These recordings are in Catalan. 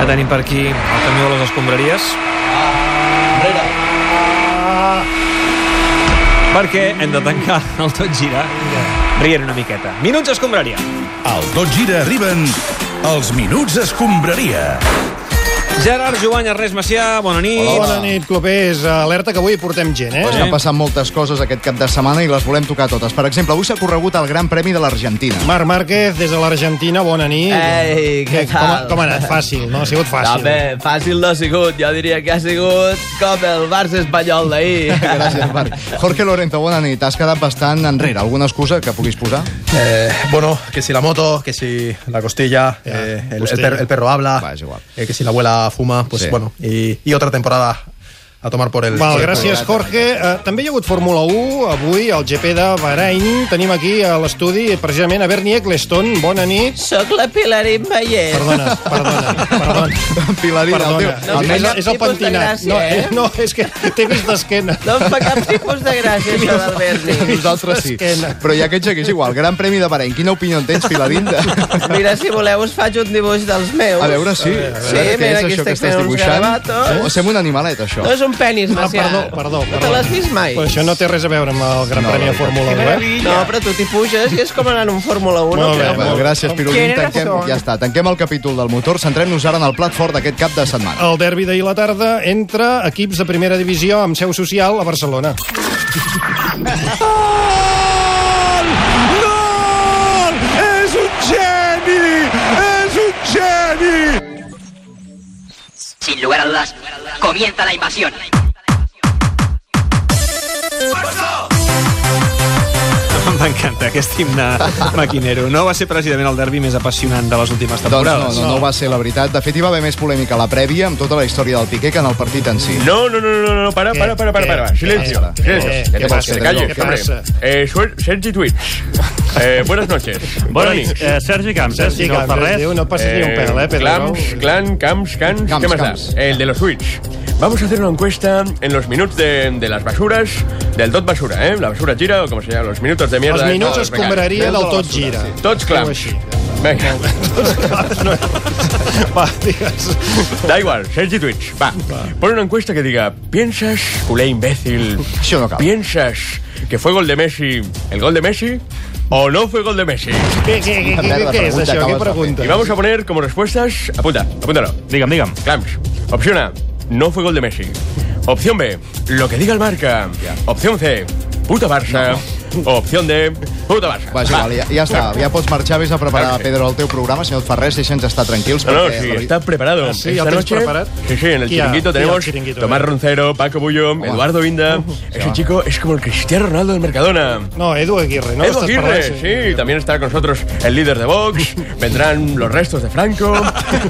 que tenim per aquí el camió de les escombraries. Perquè hem de tancar el tot girar rient una miqueta. Minuts escombraria. Al Tot Gira arriben els Minuts Escombraria. Gerard Joan, Ernest Macià, bona nit. Bona nit, clubers. Alerta que avui portem gent, eh? Doncs han passat moltes coses aquest cap de setmana i les volem tocar totes. Per exemple, avui s'ha corregut el Gran Premi de l'Argentina. Marc Márquez, des de l'Argentina, bona nit. Ei, què Com, ha- tal? com ha anat? Fàcil, no? Ha sigut fàcil. Home, fàcil no ha sigut. Jo diria que ha sigut com el Barça espanyol d'ahir. Gràcies, Marc. Jorge Lorenzo, bona nit. Has quedat bastant enrere. Alguna excusa que puguis posar? Eh, bueno, que si la moto, que si la costilla, eh, el- el, costilla. per- el perro habla, Va, es igual. eh, que si la abuela fuma, pues Sí. bueno, y, y otra temporada a tomar por el... Val, por el gràcies, culo. Jorge. Uh, també hi ha hagut Fórmula 1, avui, al GP de Bahrain. Tenim aquí a l'estudi, precisament, a Bernie Eccleston. Bona nit. Soc la Pilarín Mayer. Perdona, perdona, perdona. Pilarina, Perdona. el No, teu... és, almenys- el, és cap el tipus de pentinat. gràcia, No, eh? eh, no, és que t'he vist d'esquena. No em fa cap tipus de gràcia, això del Berni. Nosaltres sí. Esquena. Però ja que et segueix igual. Gran Premi de Bahrein. Quina opinió en tens, Pilarín? De... Mira, si voleu, us faig un dibuix dels meus. A veure, sí. Sí, mira, aquí estic fent uns Oh, gravatos. sembla un animalet, això. No és un penis, Ah, Macià. perdó, perdó, No te perdó. l'has vist mai? Però això no té res a veure amb el Gran No, Premi de no, Fórmula 1, eh? No, però tu t'hi puges i és com anar en un Fórmula 1. Molt bé, creu? Bueno, gràcies, Pirulim. Tiene Tanquem, razón. ja està, tanquem el capítol del motor. Centrem-nos ara en el plat fort d'aquest cap de setmana. El derbi d'ahir a la tarda entre equips de primera divisió amb seu social a Barcelona. Gol! És un geni! És un geni! Sin lugar a dudas, comienza la invasión. M'encanta aquest himne maquinero. No va ser precisament el derbi més apassionant de les últimes Doncs no, temporades. no, no va ser la veritat. De fet, hi va haver més polèmica a la prèvia amb tota la història del Piqué que en el partit en si. No, no, no, no, no, para, para, para, para, para. Silencio. pasa? silencio. Eh, ¿qué pasa? Que se calle, ¿Qué que hombre. pasa? Eh, suel- Sergi Twitch. Eh, buenas noches. Bona Buenas nit. noches. Eh, Sergi Camps, eh? Sí, Si no fa res. Déu, no passi ni un pèl, eh, Pedro. clams, clan, camps, cans, Camps, ¿qué más da? camps. El de los Switch. Vamos a hacer una encuesta en los minutos de, de las basuras, del dot basura, ¿eh? La basura gira o como se llama, los minutos de mierda. Els minuts estos, es venga. combraria del tot gira. Tots Diu clams. així. Venga, Va, digues. da igual, Sergi Twitch, va. Pon una encuesta que diga, ¿piensas, culé imbécil, Això no cal. ¿Piensas que fue gol de Messi el gol de Messi o no fue gol de Messi? Què, què, què, què, Merda, què és pregunta, això? Què acabes de pregunta? Y vamos a poner como respuestas, apunta, apúntalo. Digue'm, digue'm. Clams. Opción A, no fue gol de Messi. Opción B, lo que diga el marca. Opción C, puta Barça. Opción D, puta Barça. Va, és Pues igual, ja, ja està. Ja pots marxar, vés a preparar, Clar que sí. Pedro, el teu programa. Si no et fa res, deixa'ns estar tranquils. No, no, perquè sí, la veri- está preparado. Ah, sí, ya tienes preparado. Sí, sí, en el Ya, chiringuito ya, tenemos chiringuito, Tomás venga. Roncero, Paco Bullo, Eduardo Vinda. Ese chico es como el Cristiano Ronaldo del Mercadona. No, Edu Aguirre, no? Edu Estàs Aguirre, parlant, sí. También estará con nosotros el líder de Vox. Vendrán los restos de Franco,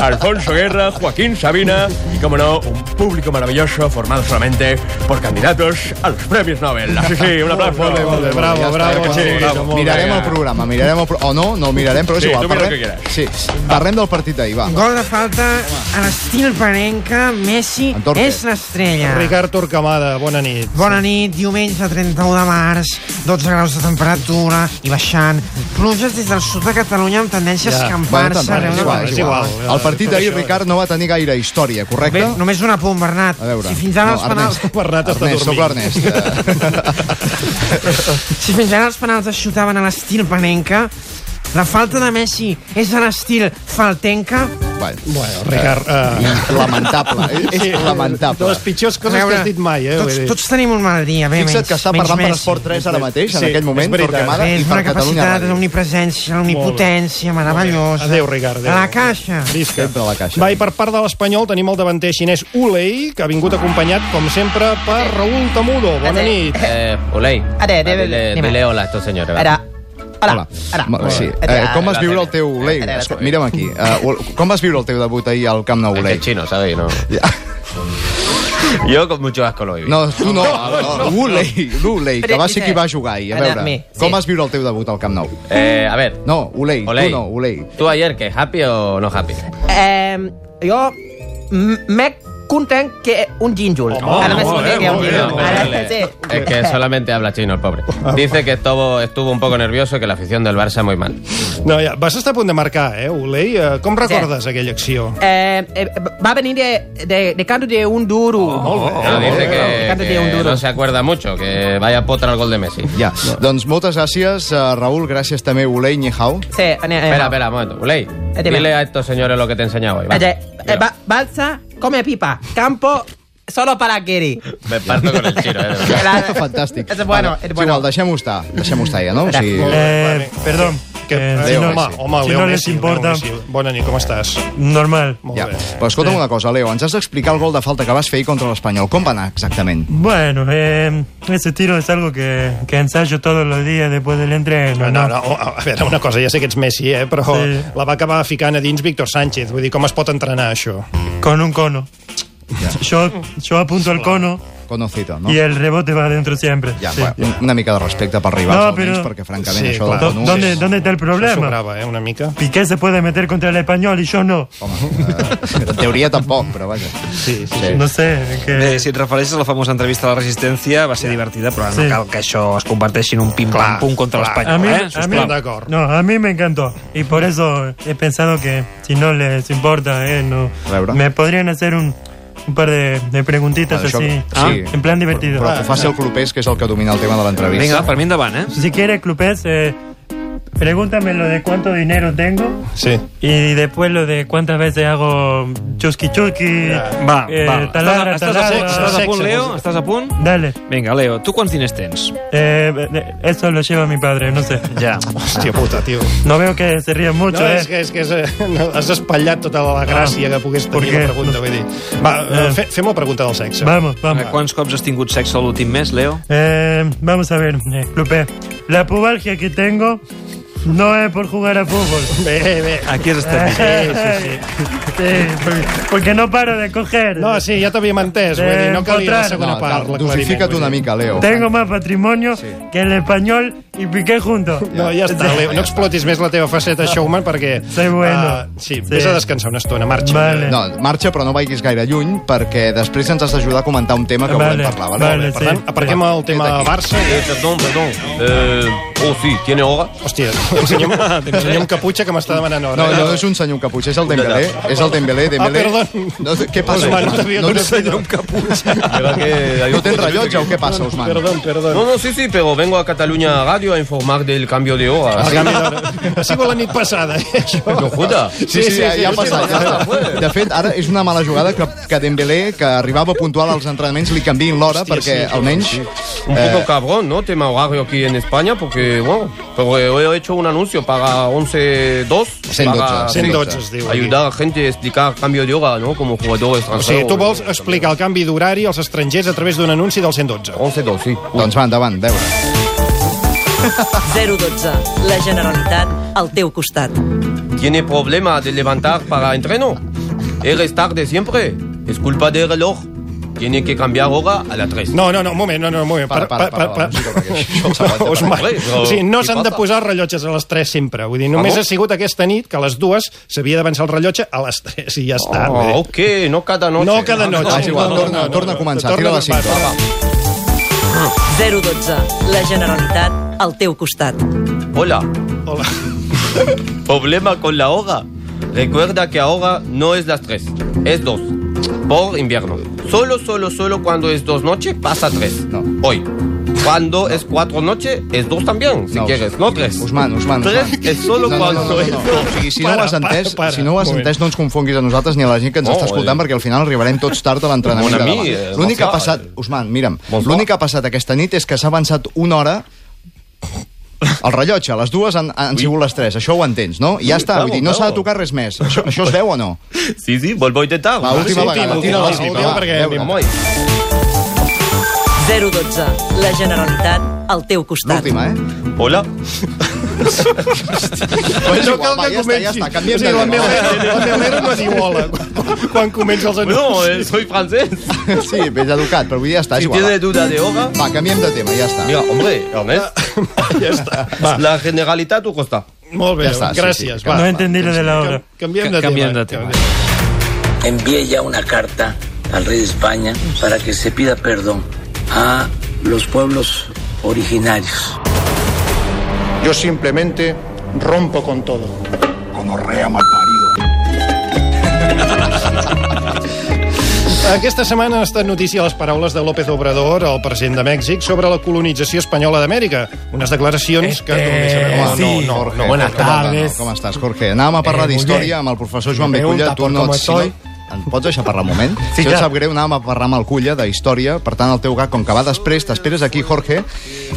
Alfonso Guerra, Joaquín Sabina y, como no, un público maravilloso formado solamente por candidatos a los premios Nobel. Sí, sí, un aplauso. Molt bé, molt bé, bravo, Ja està, bravo, que sí, molt bravo. bé, molt bé. Mirarem el programa, mirarem el... Pro... O no, no el mirarem, però és Sí, igual. tu mira el que quieras. Sí, parlem del partit d'ahir, va. Gol de falta a l'estil panenca, Messi En Torque. és l'estrella. Ricard Torquemada, bona nit. Bona nit, diumenge 31 de març, 12 graus de temperatura i baixant. Pluges des del sud de Catalunya amb tendència Ja, a Bueno, escampar-se tant, arreu és de igual, és igual. igual. El partit d'ahir, Ricard, no va tenir gaire història, correcte? Bé, només un apunt, Bernat. A veure. Si fins ara No, els penals... Ernest. Bernat està Ernest, eh, soc dormint. l'Ernest. Si fins ara els penals es xutaven a l'estil panenca, la falta de Messi és a l'estil faltenca. bueno, Bueno, Ricard, eh, lamentable, és, és sí, De lamentable. les pitjors A coses que has dit mai, eh? Tots, vull dir. tots tenim un mal dia, bé, Fixa't menys, que està menys parlant per Messi. Esport 3 ara mateix, en Sí, aquest és moment, veritat. Torquemada Bé, i és per una Catalunya capacitat, una Ràdio. omnipresència, una omnipotència meravellosa. Adéu, Ricard, adéu. A la caixa. Visca. Sempre a la caixa. Va, i per part de l'Espanyol tenim el davanter xinès Ulei, que ha vingut acompanyat, com sempre, per Raül Tamudo. Bona nit. Eh, Olei. Ara, dile, dile, dile hola a estos señores. Ara, Hola. Ma- Sí. Eh, com vas viure el teu... Lei? Ara, ara, Escolta, Mira'm aquí. Eh, com vas viure el teu debut ahir al Camp Nou, Lei? chino, ¿sabes? No. Yo con mucho asco lo he No, tu no, no, no. Ulei, l'Ulei, que va ser qui va jugar ahir. A Ara, veure, mi, com sí. vas viure el teu debut al Camp Nou? Eh, a ver, No, Ulei, tu Olei. no, Ulei. em, ¿tú ayer qué? ¿Happy o no happy? Eh, jo m'he contan que un gínjol. Oh, Ahora me molt bé, expliqué que era un molt bé, gínjol. molt Ahora, bé. sí. Es Eh, que solamente habla chino el pobre. Ah, Dice que estuvo, estuvo un poco nervioso y que la afición del Barça muy mal. No, ja, vas estar a punt de marcar, eh, Olei? Eh, Com recordes aquella acció? Eh, eh, va a venir de, de, de canto de un duro. Oh, No, dice De que, canto de un que duro. no se acuerda mucho, que vaya potra al gol de Messi. Ja. Doncs moltes gràcies, eh, Raül. Gràcies també, Olei Nihau. Sí, eh, eh, Espera, espera, un momento. Uley, Dime. dile a estos señores lo que te he enseñado hoy. va. Oye, eh, Dilo. ba- balsa, come pipa. Campo, solo para Giri. Me parto con el tiro, eh. de verdad. Fantàstic. Es bueno, Vale, es és bueno. Igual, deixem-ho estar. Deixem-ho estar ja, no? O Gràcies. sigui, Eh, perdón. Que, Eh, eh, si Leo no, home, home, si Leo no les Messi, Leo importa, Messi. Bona nit, com estàs? normal. Molt ja. bé. Però escolta'm una cosa, Leo, ens has d'explicar el gol de falta que vas fer ahir contra l'Espanyol. Com va anar exactament? Bueno, eh, ese tiro es algo que, que ensayo todos los días después del entreno. No, no, no, a a veure, una cosa, ja sé que ets Messi, eh, però sí. Sí. la va acabar ficant a dins Víctor Sánchez. Vull dir, com es pot entrenar, això? Con un cono. Yo, yo apunto al cono Conocido, no? y el rebote va adentro siempre. Ja, Sí. bueno, una mica de respecte per rivals, No, no, però... però- almenys, perquè francament Sí, això clar. del Do- Conu... ¿Dónde, és- dónde está el Això problema? sobrava, eh, una mica. Piqué se puede meter contra el español y yo no. Eh, en teoria tampoc, pero vaya. Sí, sí. No sé, que... Bé, Eh, si et refereixes a la famosa entrevista a la Resistència, va ser divertida, però Sí. no cal que això es converteixi en un pim-pam-pum contra A l'Espanyol, mí, eh? a mí- Sisplau. D'acord. no, a mí me encantó y por eso he pensado que si no les importa, eh, no, Laura. me podrían hacer un, un par de, de preguntitas Vale, això- así, Ah, sí. en plan divertido. Però que ho faci el clubers, que és el que domina el tema de l'entrevista. Vinga, per mi endavant, eh? Si quieres, Clupés, eh, pregúntame lo de cuánto dinero tengo Sí. y después lo de cuántas veces hago chusqui chusqui, Va, eh, va. taladra, estàs, estàs, a punt, taladra. estàs a punt, Sexe, Leo? sexe. Estàs a punt? Dale, Vinga, Leo, tu quants diners tens? eh, eh, eso lo lleva mi padre, no sé. Ja. Hòstia puta, tio. No veo que se ríen mucho, No, eh. és que, és que és, eh, no, has espatllat tota la gràcia que pogués tenir Perquè- la pregunta, vull dir. Va, eh, fe, fem la pregunta del sexe. Vamos, vamos. Eh, Quants cops has tingut sexe l'últim mes, Leo? Eh, vamos a ver, eh, Lupe. La pubalgia que tengo no es por jugar a fútbol. Bé, bé. Aquí has estat dient. Sí, porque, porque no paro de coger. No, sí, ja t'havíem entès, vull dir, no calia la Empotrar. segona No, part, Ah, cal, l'aclariment. dosifica't vull una dir. mica, Leo. Tengo más patrimonio que el español y Piqué juntos. No, ja està, Leo, no explotis més la teva faceta showman perquè... Soy bueno. ah, sí, Sí. vés a descansar una estona, marxa. Vale. No, marxa, però no vagis gaire lluny, perquè després ens has d'ajudar a comentar un tema que Vale, volem parlar, vale? vale. Per tant, Sí. aparquem el tema Vet aquí. Barça. Eh, perdón, perdón. Eh, oh, sí, tiene horas. Hòstia, el senyor, el senyor amb caputxa que m'està demanant hora. No, no, no és un senyor amb caputxa, és el Dembélé. És el Dembélé, Dembélé. Ah, perdó. No, què passa? Osman, no Osman? sabia no, que un tens- senyor amb caputxa. Llega que hay no un- tens rellotge o què passa, Osman? Perdó, perdó. No, no, sí, sí, pero vengo a Cataluña Radio a informar del cambio de horas. El canvi d'hora. Ha sigut la nit passada, eh, això. No Ah, joda. Sí, sí, ja, ja ha passat. Ja està. De fet, ara és una mala jugada que, que Dembélé, que arribava puntual als entrenaments, li canviïn l'hora, perquè almenys... Un Eh. poco cabrón, ¿no? Tema horario aquí en España, porque, bueno, pero he hecho un anuncio para 11.2. 112, para 112 es diu. aquí. Ayudar a gente a explicar cambio de hora, ¿no? Como jugador O extranjero. sigui, tu vols explicar el canvi d'horari als estrangers a través d'un anunci del 112. 11.2, sí. Doncs va, endavant, a veure. 012. La Generalitat al teu costat. ¿Tiene problema de levantar para entreno? ¿Eres tarde siempre? Es culpa del reloj. Tiene que cambiar hora a las 3. No, no, no, un moment, no, no, un moment. Para, para, para, la música, perquè això s'ha de- No, Osman, Res, però o sigui, no qui s'han de falta? posar rellotges a les 3 sempre. Vull dir, només Ah, no? ha sigut aquesta nit que a les 2 s'havia d'avançar el rellotge a les 3 i ja està. Oh. vull Ah, dir. ok, no cada noche. No cada noche. Ah, és igual, No, no, torna, no, torna a no, començar, torna tira la del pas, cinta. va, Va, va. 012. La Generalitat al teu costat. Hola, Hola. problema con la hora. Recuerda que ahora no es las 3, es 2. Por invierno. Solo, solo, solo cuando es dos noches pasa 3. No. Hoy. Cuando es cuatro noches es 2 también, si No. Pues quieres, no 3. Usman, Usman, Tres Usman. es solo cuando es dos. O sigui, si no Para, ho has entès, para, para. si no ho has Un moment. entès, no ens confonguis a nosaltres ni a la gent que ens No, està escoltant, eh. perquè al final arribarem tots tard a l'entrenament Bon de ami, demà. eh, L'únic que ha Bonsoir. passat, Usman, mira'm, Bonsoir. l'únic que ha passat aquesta nit és que s'ha avançat una hora el rellotge, a les dues han, han sigut les tres, això ho entens, no? I ja està, bravo, vull dir, no s'ha de bravo. tocar res més. Això, això es veu o no? Sí, sí, vuelvo a intentar. Va, última vegada, tira última, la cinta, última, va, perquè a veure. Vamos ahí. 012. La Generalitat al teu costat. L'última, eh? Hola. Pues No igual, cal va, que ja està, ja comenci. està, canviem Sí, de la tema. meva la meva mare no diu hola quan- quan comença els No, anuncis. eh, soy francés. Sí, ben educat, però avui ja està, és Si igual. tiene duda de hora. Va, canviem de tema, ja està. Mira, hombre, Ernest, Ja està. va. la generalidad a tu costa. Molt bé, eh, Ja està, sí, sí. gràcies. No Va, entendí lo de la hora. canviem de tema. Canviem de tema. Envié ya una carta al rey de España para que se pida perdón a los pueblos originarios. Yo simplemente rompo con todo. Gonorrea mal Aquesta setmana ha estat notícia les paraules de López Obrador, el president de Mèxic, sobre la colonització espanyola d'Amèrica. Unes declaracions que... Eh, no, sí, no, no, no, buenas Jorge, no, tardes. Com estàs, Jorge? Anàvem a parlar Eh, muy bien. d'història amb el professor Joan Me pregunta Beculla. Tu por no cómo et... Si no, estoy. em pots deixar parlar un moment? Sí, si no et clar. sap greu, anàvem a parlar amb el Culla d'història. Per tant, el teu gag, com que va després, t'esperes aquí, Jorge,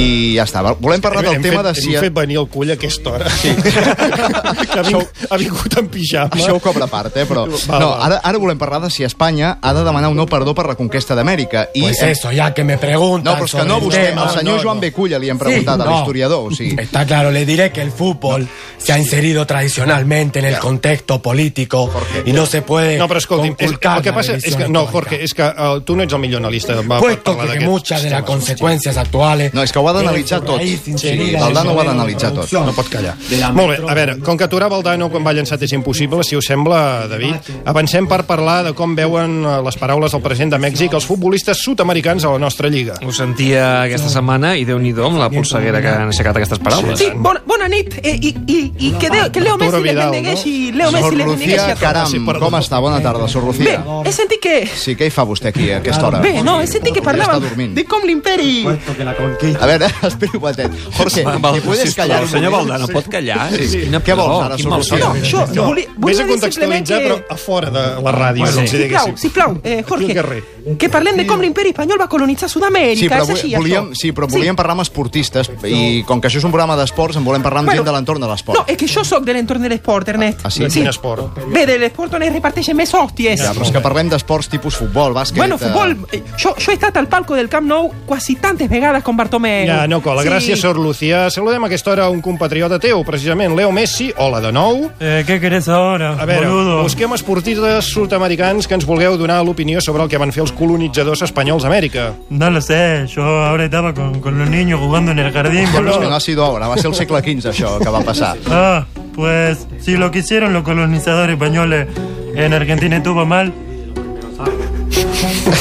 i ja està. Volem parlar del Hem tema fet, de si... Hem fet venir el cull a aquesta hora. Sí. que ha, ving, ha vingut en pijama. Això ho cobra a part, eh, però... Va, no, va. ara, ara volem parlar de si Espanya ha de demanar un no perdó per la conquesta d'Amèrica. I... Pues eso, ya que me preguntan. No, però és que no, sobre el vostè, tema. al senyor No, no. Joan Beculla li hem preguntat, a no. l'historiador, o sigui... Está claro, le diré que el fútbol se ha inserido tradicionalmente en el contexto político y no se puede No, però escolti'm, és, conculcar el que la passa és religión que... No, Jorge, és que uh, tu no ets el millor analista. Va, per Puesto parlar que d'aquests muchas de las temes. consecuencias actuales. No, es que ho ha d'analitzar Eh, tot. Sí, Valdano ho ha d'analitzar tot. No pot callar. Molt bé, a veure, com que aturar Valdano quan va llançat és impossible, si us sembla, David, avancem per parlar de com veuen eh, les paraules del president de Mèxic els futbolistes sud-americans a la nostra lliga. Ho sentia aquesta setmana i déu nhi amb la polseguera que han aixecat aquestes paraules. Sí, bon, bona nit. Eh, I, i, i que, Déu- que Leo Messi les benegueixi i Leo Messi les benegueixi Sorlucía, a caram, tots. com està? Bona tarda, Sorlucía. He sentit que... Sí, què hi fa vostè aquí a aquesta hora? Bé, no, he sentit que està parlàvem dormint. de com l'imperi... A veure, espera un momentet. Jorge, Va, Val- te puedes sisplau, callar un senyor moment? Valdano, pot callar? És- quina Què pudor, vols ara, quin malson. Sorlucía? No, jo- No, volia- vés volia a dir contextualitzar, simplement però que- a fora de la ràdio, Bueno, bueno, si Sisplau, diguéssim. sisplau, eh, Aquí Jorge, al carrer. que parlem de com l'imperi espanyol va colonitzar Sud-amèrica, Sí, però, és així, vo- volíem, això? sí, però volíem parlar amb esportistes i com que això és un programa d'esports en volem parlar amb Bueno, gent de l'entorn de l'esport. No, és que jo sóc de l'entorn de l'esport, Ernest. Ah, sí? Sí. esport? Bé, de l'esport on es reparteixen més hòsties. Ja, però és que parlem d'esports tipus futbol, bàsquet... Bueno, eh, futbol, eh, yo, yo he estado al palco del Camp Nou quasi tantes vegades con Bartomeu. Ja, no cola. eh, Sí. Gràcies, Sor Lucía. Saludem a aquesta hora un compatriota teu, precisament, Leo Messi. Hola de nou. Eh, què querés ahora, A veure, boludo? busquem esportistes sud-americans que ens vulgueu donar l'opinió sobre el que van fer els colonitzadors espanyols a Amèrica. No lo sé, yo ahora estaba con, con los niños jugando en el jardín, Bueno, és que no boludo. ha sido ahora, va ser el segle XV això que va passar. Ah, pues si lo que hicieron los colonizadores españoles en Argentina estuvo mal,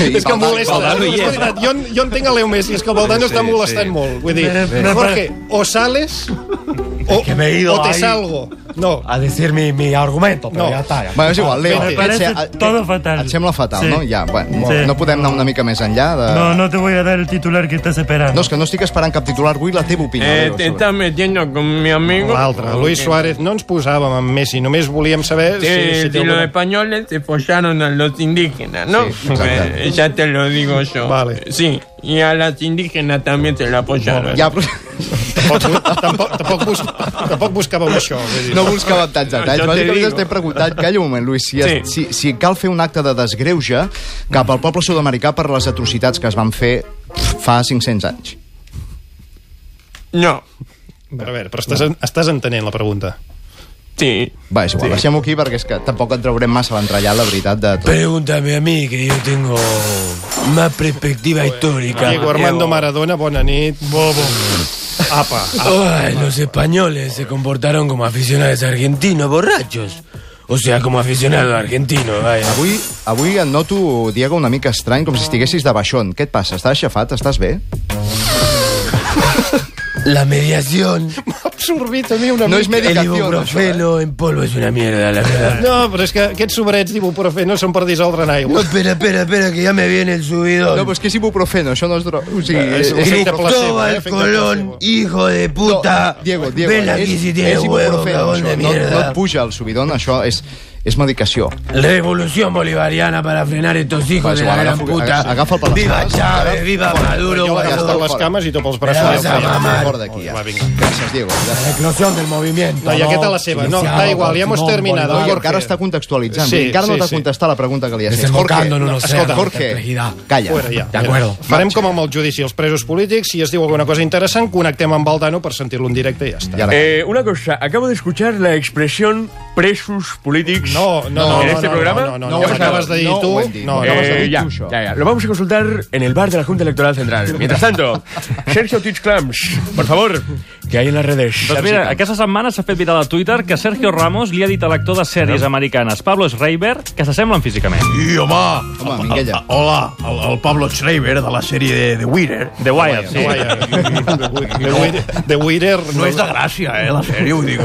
és que em molesta. Valdano hi és. És veritat, jo, jo entenc a Leo Messi, és que el Valdano Sí, està sí. molestant molt. Vull dir, Bé, bé. Jorge, o sales o, que me he ido o te ahí. Ah, salgo. No. A decir mi, mi argumento, pero ya está. ya está. Bueno, és igual, Leo, Me et, parece se- et, todo fatal. et sembla fatal, Sí. no? Ja, bueno, Sí. no podem anar una mica més enllà de... Ah. No, no te voy a dar el titular que estás esperando. No, és que no estic esperant cap titular, vull la teva opinió. Leo, sobre- metiendo con mi amigo... L'altre, Luis Suárez, no ens posàvem amb Messi, només volíem saber si... si té alguna- españoles se follaron a los indígenas, ¿no? Sí, exacto. Eh, ya te lo digo yo. Vale. Sí, y a las indígenas también se la follaron. Ya, Tampoc, tampoc, tampoc, bus, tampoc buscàvem això. Vull dir. No buscàvem tants detalls. Jo te eh? Bàsicament digo. estem preguntant, calla un moment, Luis, si, sí. si, si cal fer un acte de desgreuge cap al poble sud-americà per les atrocitats que es van fer fa 500 anys. No. Però, a veure, però estàs, estàs entenent la pregunta. Sí. Va, és igual, sí. deixem-ho aquí perquè és que tampoc en traurem massa l'entrellat, la veritat, de tot. Pregúntame a mí, que yo tengo más perspectiva histórica. Diego Armando Maradona, bona nit. Bobo. Apa. Ah. Ay, los españoles se comportaron como aficionados argentinos borrachos. O sea, como aficionados argentinos, vaya. Avui, avui et noto, Diego, una mica estrany, com si estiguessis de baixón. Què et passa? Estàs aixafat? Estàs bé? La mediación, M'ha absorbit a mi una No mica. es medicación, eh? El ibuprofeno en polvo es una mierda, la verdad. No, però és que aquests sobrets d'ibuprofè no són per dissoldre en aigua. No, espera, espera, espera, que ya me viene el subidón. No, pues que és ibuprofeno, això no és droga. O sigui, Eh, Cristóbal Colón, hijo de puta. No, Diego, Diego, Ven aquí si tienes huevo, ibuprofeno, cagón de això. No, no mierda. et puja el subidon, això és, és medicació. Revolución bolivariana para frenar estos hijos Pues de la igual, gran agafa- puta. aga- agafa'l per les viva cames. Chávez, viva Maduro. Jo vaya- agafo les cames i tot els braços. Vas a mamar. Fora d'aquí, ja. Gràcies, Diego. La eclosión del movimiento. No, i aquesta la seva. No, da igual, ja hemos terminado, Oi, Jorge. encara està contextualitzant. Sí, encara no sí, t'ha sí. contestat la pregunta que li has fet. Desembocando en un océano escolta, de Jorge, perplejidad. calla. Fuera, ja. De acuerdo. Farem com amb el judici els presos polítics, si es diu alguna cosa interessant, connectem amb Valdano per sentir-lo en directe i ja està. Eh, una cosa, acabo de escuchar la expresión presos politics No, no, no. ¿En no, este no, programa? no, no, no, no, acabas de ir tú. lo has dicho. No, no, Eh, acabas de ir ya, tú, això. ya, ya. Lo vamos a consultar en el bar de la Junta Electoral Central. Mientras tanto, Sergio Tich Clams, por favor, Pues que hay en las redes. Doncs mira, aquesta setmana s'ha fet viral a Twitter que Sergio Ramos li ha dit a l'actor de sèries americanes Pablo Schreiber que s'assemblen físicament. I, home, home minguella. hola, el, el Pablo Schreiber de la sèrie de The Wire. The Wire, sí. The Wire. The Wire No és de gràcia, eh, la sèrie, ho dic.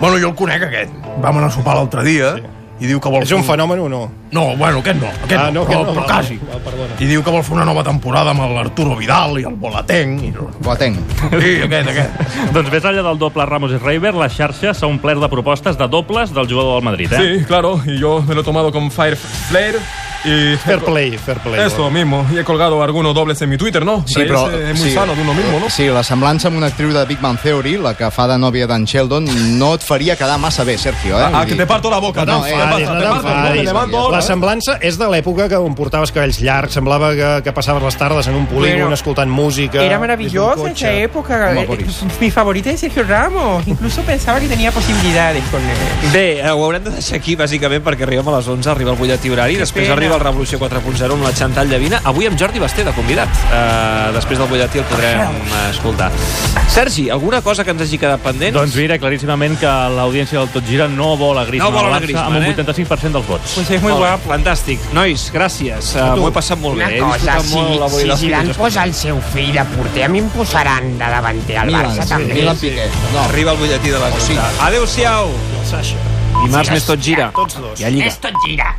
Bueno, jo el conec, aquest. Vam anar a sopar l'altre dia i diu que vol... És un fenomen o no? No, bueno, aquest no, aquest Ah, no, aquest però, no, però no. quasi. Ah, perdona. I diu que vol fer una nova temporada amb l'Arturo Vidal i el Bolateng. I... Boateng. Sí, aquest, aquest. doncs més enllà del doble Ramos i Schreiber, la xarxa s'ha omplert de propostes de dobles del jugador del Madrid, eh? Sí, claro, y yo me lo he tomado con Fire Flare y... Fair play, fair play. Eso mismo, y he colgado algunos dobles en mi Twitter, ¿no? Reírse es eh, muy sano de uno mismo, ¿no? Sí, la semblança amb una actriu de Big Man Theory, la que fa de nòvia d'en Sheldon, no et faria quedar massa bé, Sergio. Eh? Ah, Vull que dir- te parto la boca, No, no, eh, te Adis, parto, no te parto, no, te t'enfadis. levanto La ahora. semblança és de l'època que on portaves cabells llargs, semblava que, que passaves les tardes en un polígon Bueno, escoltant música... Era des maravillosa d'un esa cotxe. época. Home, Eh, Boris. Mi favorita es Sergio Ramos. Incluso pensaba que tenía posibilidades con él. Bé, eh, ho haurem de deixar aquí, bàsicament, perquè arribem a les 11, arriba el butlletí horari, després pena. arriba el Revolució 4.0 amb la Chantal Llavina, avui amb Jordi Basté, de convidat. Uh, després del butlletí el podrem eh, escoltar. Sergi, alguna cosa que ens hagi quedat pendent? Doncs mira, claríssimament que l'audiència del Tot Gira no vol a Griezmann, No vol a al Barça Griezmann, amb un eh? 85% dels vots. Pues és muy guapo. Fantàstic. Nois, gràcies. Eh, A tu. M'ho he passat molt Una bé. cosa, si, avui si les Zidane fotos. posa el seu fill de porter, a mi em posaran de davanter al Ah, Barça, també. No. Arriba el butlletí de les 11. Adéu-siau. Dimarts més tot gira. Tots dos. I a Lliga. És tot gira.